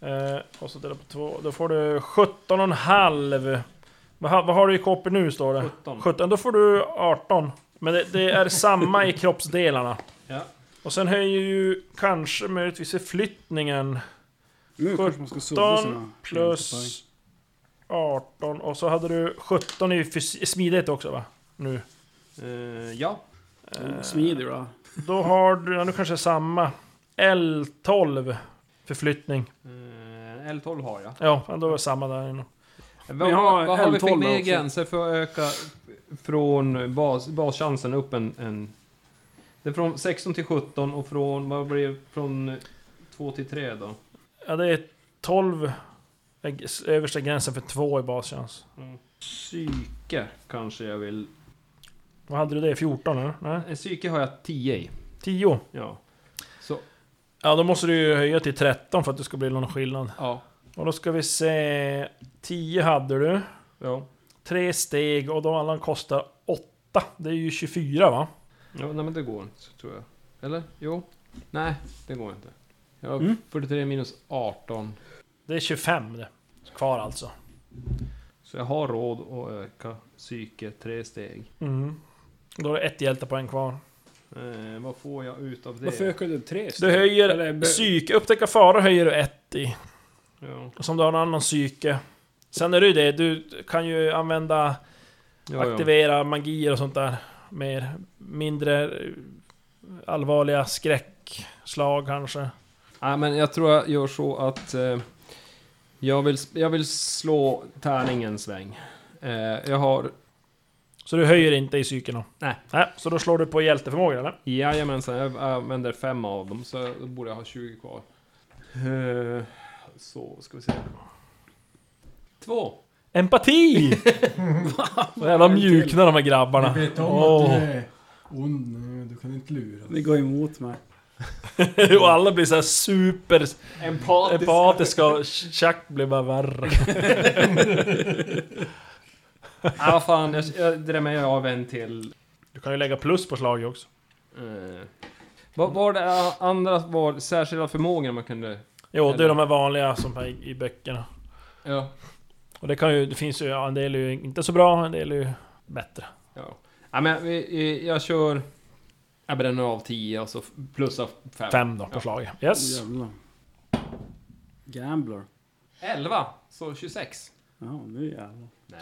[SPEAKER 2] Eh, och så delar på två, då får du 17,5. Vad, ha- vad har du i KP nu står det?
[SPEAKER 4] 17.
[SPEAKER 2] 17, då får du 18. Men det, det är samma i kroppsdelarna.
[SPEAKER 4] Ja.
[SPEAKER 2] Och sen höjer ju kanske möjligtvis förflyttningen
[SPEAKER 5] Nu kanske man ska sudda sina
[SPEAKER 2] plus 18. Och så hade du 17 i fys- smidighet också va? Nu.
[SPEAKER 4] Eh, ja.
[SPEAKER 2] eh,
[SPEAKER 5] hjältepoäng. Smidig då.
[SPEAKER 2] Då har du, ja, nu kanske det är samma. L12 förflyttning.
[SPEAKER 4] Eh, L12 har jag.
[SPEAKER 2] Ja, då är det samma där inne.
[SPEAKER 4] Vad,
[SPEAKER 5] jag har
[SPEAKER 4] vad har vi för
[SPEAKER 5] L12
[SPEAKER 4] mer
[SPEAKER 5] också.
[SPEAKER 4] gränser för att öka från bas, baschansen upp en, en... Det är från 16 till 17 och från... Vad blir det? Från 2 till 3 då?
[SPEAKER 2] Ja, det är 12 är g- översta gränsen för 2 i baschans.
[SPEAKER 4] Psyke kanske jag vill...
[SPEAKER 2] Vad hade du det? 14 eller? Nej?
[SPEAKER 4] En Eh, psyke har jag 10 i.
[SPEAKER 2] 10?
[SPEAKER 4] Ja. Så,
[SPEAKER 2] Ja, då måste du ju höja till 13 för att det ska bli någon skillnad.
[SPEAKER 4] ja.
[SPEAKER 2] Och då ska vi se... 10 hade du.
[SPEAKER 4] Ja.
[SPEAKER 2] Tre steg och de alla kostar 8. Det är ju 24 va?
[SPEAKER 4] ja nej men det går inte, tror jag. Eller? Jo. Nej, det går inte. Jag har
[SPEAKER 5] Mm.
[SPEAKER 4] 43 minus 18.
[SPEAKER 2] Det är 25 det. Kvar alltså.
[SPEAKER 4] Så jag har råd att öka psyke tre steg.
[SPEAKER 2] Mm. Då är det ett hjältepoäng kvar.
[SPEAKER 4] Eh, vad får jag ut av det?
[SPEAKER 5] Varför ökade du tre?
[SPEAKER 2] Du
[SPEAKER 5] Eller
[SPEAKER 2] höjer
[SPEAKER 5] be-
[SPEAKER 2] psyk, upptäcka fara höjer du 1 i.
[SPEAKER 4] Ja.
[SPEAKER 2] Och Som du har en annan psyke. Sen är det ju det, du kan ju använda
[SPEAKER 4] Ja, ja.
[SPEAKER 2] aktivera magier och sånt där. Mer, mindre eh, allvarliga skräckslag kanske.
[SPEAKER 4] Nej, men jag tror jag gör så att eh, jag, vill, jag vill slå tärningens sväng. Eh, jag har...
[SPEAKER 2] Så du höjer inte i psyken då?
[SPEAKER 4] Nej.
[SPEAKER 2] Nej, så då slår du på hjälteförmågan eller?
[SPEAKER 4] Jajamensan, jag använder fem av dem, så då borde jag ha 20 kvar. Eh, så, ska vi se. Två!
[SPEAKER 2] Empati! Så jävla mjukna de här grabbarna.
[SPEAKER 6] Jag vet om
[SPEAKER 2] Åh.
[SPEAKER 6] att du är ond nu, du kan inte lura.
[SPEAKER 5] Det går emot mig.
[SPEAKER 2] och alla blir såhär super
[SPEAKER 4] Empatisk.
[SPEAKER 2] empatiska och tjack blir bara värre.
[SPEAKER 4] Ja, vad fan, jag, jag drämmer ju av en till.
[SPEAKER 2] Du kan ju lägga plus på slaget också.
[SPEAKER 4] Eh, vad var det eh, andra var särskilda förmågor man kunde...
[SPEAKER 2] Jo, det är de här vanliga som är i i böckerna.
[SPEAKER 4] Ja.
[SPEAKER 2] Och det kan ju, det finns ju, ja, en del är ju inte så bra, en del är ju bättre.
[SPEAKER 4] Ja. ja men vi- eh, jag kör... Jag bränner av 10 och så f- plussar 5.
[SPEAKER 2] Fem då på
[SPEAKER 4] Ja.
[SPEAKER 2] slaget.
[SPEAKER 5] Oh,
[SPEAKER 2] Yes.
[SPEAKER 5] jävlar. Gambler.
[SPEAKER 4] 11, så 26.
[SPEAKER 5] Ja, nu jävlar.
[SPEAKER 4] Nej.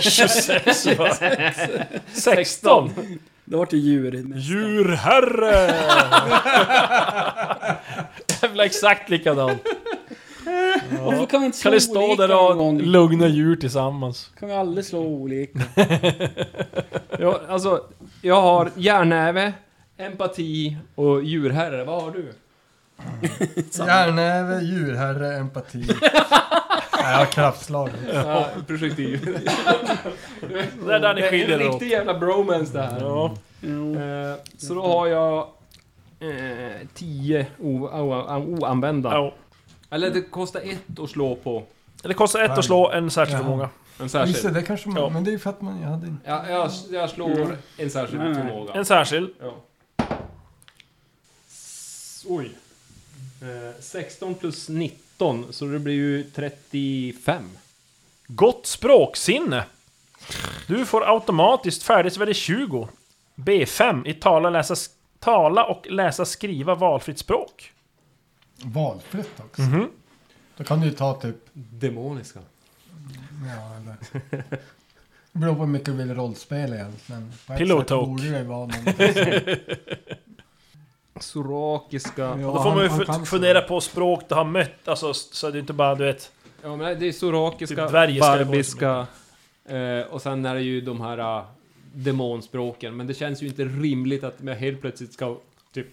[SPEAKER 2] 26 va? 16!
[SPEAKER 5] Det vart ju djur.
[SPEAKER 2] Djurherre! Jävla exakt likadant.
[SPEAKER 5] Varför kan vi inte slå
[SPEAKER 2] Kan det stå
[SPEAKER 5] olika
[SPEAKER 2] där
[SPEAKER 5] någon
[SPEAKER 2] och
[SPEAKER 5] gång?
[SPEAKER 2] lugna djur tillsammans?
[SPEAKER 5] Kan vi aldrig slå olika?
[SPEAKER 4] Jag, alltså, jag har järnnäve, empati och djurherre. Vad har du?
[SPEAKER 6] Järnnäve, djurherre, empati. Nej, jag har kraftslag.
[SPEAKER 4] Ja, projektiv.
[SPEAKER 2] Det är där ni
[SPEAKER 4] Det är
[SPEAKER 2] skiljer
[SPEAKER 4] en
[SPEAKER 2] er åt.
[SPEAKER 4] riktig jävla bromance det här.
[SPEAKER 2] Ja.
[SPEAKER 4] Eh, Så då har jag... eh, 10 o- o- o- oanvända.
[SPEAKER 2] Ja.
[SPEAKER 4] Eller det kostar ett att slå på
[SPEAKER 2] Det kostar ett att slå en särskild
[SPEAKER 6] Jaha.
[SPEAKER 2] förmåga.
[SPEAKER 4] en
[SPEAKER 6] Just det,
[SPEAKER 4] särskild.
[SPEAKER 6] det kanske man...
[SPEAKER 2] Ja.
[SPEAKER 6] Men det är ju för att man... Jag hade inte...
[SPEAKER 4] Ja, jag, jag slår en särskild
[SPEAKER 5] Nej, nej.
[SPEAKER 4] förmåga.
[SPEAKER 2] En särskild.
[SPEAKER 4] Ja. S- Oj. Eh, 16 plus 19, så det blir ju 35.
[SPEAKER 2] Gott språksinne. Du får automatiskt färdighetsvärde 20. B5 i tala, läsa, sk- tala och läsa skriva valfritt språk.
[SPEAKER 6] Valfritt också.
[SPEAKER 2] Mhm.
[SPEAKER 6] Då kan du ju ta typ...
[SPEAKER 4] Demoniska.
[SPEAKER 6] Ja, eller... Det beror på hur mycket du vill rollspela egentligen. På ett
[SPEAKER 2] Pillow
[SPEAKER 6] sätt
[SPEAKER 2] talk.
[SPEAKER 6] Borde det vara någonting.
[SPEAKER 4] Sorakiska.
[SPEAKER 6] Ja,
[SPEAKER 2] Då får man ju
[SPEAKER 6] han- han
[SPEAKER 2] fu-
[SPEAKER 6] kan
[SPEAKER 2] fundera på språk du har mött, alltså, s- så det är inte bara du vet...
[SPEAKER 4] Ja, men det är sorakiska,
[SPEAKER 2] Typ dvärgiska eller
[SPEAKER 4] barbiska eh, och sen är det ju de här eh, demonspråken. Men det känns ju inte rimligt att man helt plötsligt ska typ...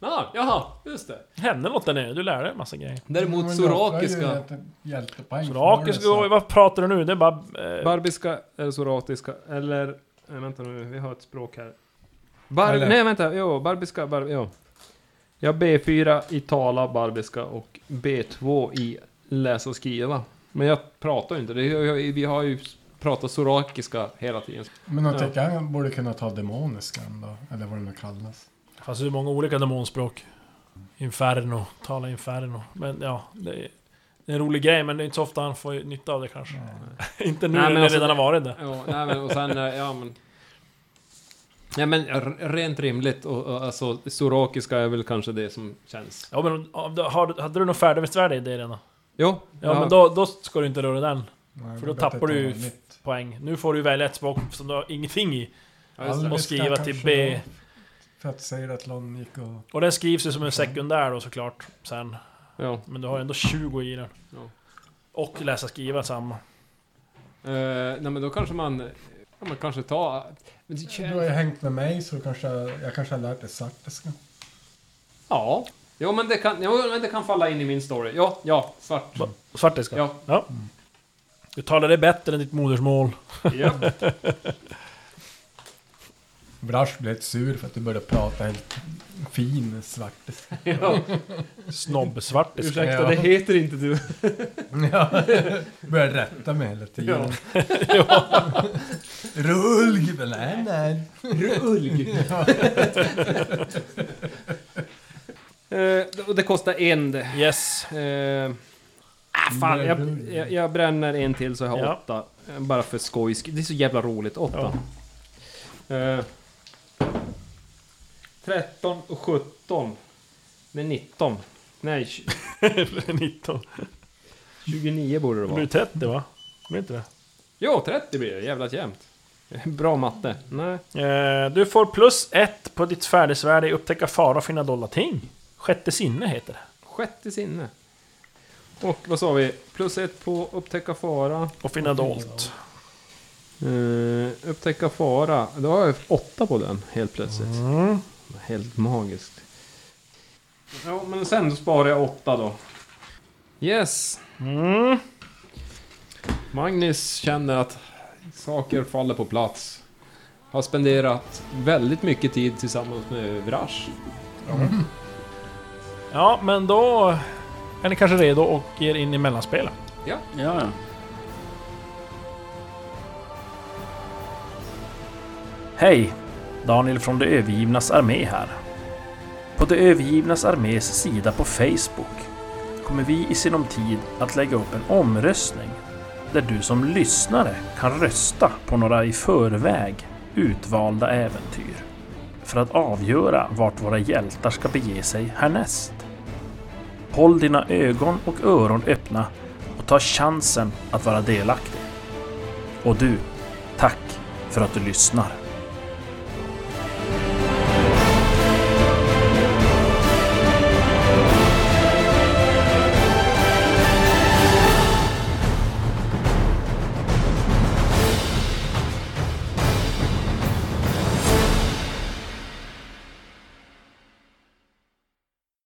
[SPEAKER 4] Ah, jaha, just det.
[SPEAKER 2] Hände något där nere, du lärde dig en massa grejer.
[SPEAKER 4] Däremot
[SPEAKER 6] Men då offrar ju
[SPEAKER 4] sorakiska,
[SPEAKER 6] ett Hjältepoäng. för
[SPEAKER 2] Sorakiska,
[SPEAKER 6] Mm. det, så-
[SPEAKER 2] vad pratar du nu? Det är bara... Eh,
[SPEAKER 4] barbiska eller soratiska eller... Nej, vänta nu, vi har ett språk här. Bar
[SPEAKER 6] Eller-
[SPEAKER 4] Nej, vänta, jo, barbiska, bar jo. Jag B4 i tala barbiska och B2 i läsa och skriva. Men jag pratar ju inte, det, jag, jag, vi har ju pratat sorakiska hela tiden.
[SPEAKER 6] Men jag
[SPEAKER 4] Ja.
[SPEAKER 6] tycker jag borde kunna ta demoniskan då. Eller vad det nu kallas.
[SPEAKER 2] Fast det är många olika demonspråk. Inferno, tala inferno. Men ja, det är, det är en rolig grej men det är inte så ofta han får nytta av det kanske. inte nu
[SPEAKER 4] Nej, men
[SPEAKER 2] när det
[SPEAKER 4] alltså-
[SPEAKER 2] redan har varit det.
[SPEAKER 4] Ja, nej, men, och sen, eh, ja men... Ja men r- rent rimligt, och, och alltså sorakiska är väl kanske det som känns.
[SPEAKER 2] Ja men om du- har, du- hade du något färdighetsvärde i det redan?
[SPEAKER 4] Jo,
[SPEAKER 2] Ja, men då, då ska du inte röra den
[SPEAKER 6] Nej,
[SPEAKER 2] För då
[SPEAKER 6] det är bättre
[SPEAKER 2] tappar
[SPEAKER 6] att ta
[SPEAKER 2] du ju-
[SPEAKER 6] vanligt.
[SPEAKER 2] poäng. Nu får du välja ett språk som du har ingenting i.
[SPEAKER 4] Ja, just det.
[SPEAKER 2] Och
[SPEAKER 6] Alviska
[SPEAKER 2] skriva till
[SPEAKER 6] kanske
[SPEAKER 2] B.
[SPEAKER 6] då, För att säga att Lon gick och...
[SPEAKER 2] Och den skrivs ju som en sekundär då såklart. Sen.
[SPEAKER 4] Ja.
[SPEAKER 2] Men du har ändå 20 i den.
[SPEAKER 4] Ja.
[SPEAKER 2] Och läsa skriva samma.
[SPEAKER 4] Eh, nej men då kanske man... Ja, man kanske tar... Men det
[SPEAKER 6] Du har ju
[SPEAKER 4] känns,
[SPEAKER 6] hängt med mig så kanske jag kanske har lärt dig sartiska.
[SPEAKER 4] ja. Jo men, det kan, jo men det kan falla in i min story. Ja, ja, svart.
[SPEAKER 2] Va- Svartiska?
[SPEAKER 4] Ja.
[SPEAKER 2] Du talar det bättre än ditt modersmål.
[SPEAKER 4] ja.
[SPEAKER 6] Brash blev sur för att du började prata helt fin svartiska.
[SPEAKER 2] Snobb-svartiska.
[SPEAKER 4] Ursäkta, det heter inte du.
[SPEAKER 6] Ja. Började rätta mig hela tiden.
[SPEAKER 4] Ja.
[SPEAKER 6] Rullg! men Nej, nej.
[SPEAKER 4] Ulg. Eh, och det kostar en det.
[SPEAKER 2] Yes.
[SPEAKER 4] Eh, ah, fan, jag, jag, jag bränner en till så jag har
[SPEAKER 2] Ja.
[SPEAKER 4] åtta. Eh, Bara för skojs Det är så jävla roligt. Åtta. Eh, 13 och 17. Det är 19. Nej, tj-
[SPEAKER 2] 19.
[SPEAKER 4] 29 borde det
[SPEAKER 2] Det blir
[SPEAKER 4] vara.
[SPEAKER 2] 30 va? Blir inte det?
[SPEAKER 4] Jo, 30 blir det. Jävligt jämnt. Bra matte. Nej.
[SPEAKER 2] Eh, du får plus ett på ditt färdighetsvärde i upptäcka fara och finna dolda ting. Sjätte sinne heter det.
[SPEAKER 4] Sjätte sinne. Och vad sa vi? Plus ett på upptäcka fara.
[SPEAKER 2] Och finna dolt.
[SPEAKER 4] Eh, upptäcka fara. Då har jag åtta på den helt plötsligt.
[SPEAKER 2] Mm.
[SPEAKER 4] Helt magiskt. Ja, men sen sparar jag åtta då. Yes.
[SPEAKER 2] Mm.
[SPEAKER 4] Magnus känner att saker faller på plats. Har spenderat väldigt mycket tid tillsammans med Vrash.
[SPEAKER 2] Ja, men då är ni kanske redo och ger in i mellanspelet.
[SPEAKER 5] Ja, ja.
[SPEAKER 2] Hej! Daniel från De övergivnas armé här. På De övergivnas armés sida på Facebook kommer vi i sinom tid att lägga upp en omröstning där du som lyssnare kan rösta på några i förväg utvalda äventyr för att avgöra vart våra hjältar ska bege sig härnäst. Håll dina ögon och öron öppna och ta chansen att vara delaktig. Och du, tack för att du lyssnar.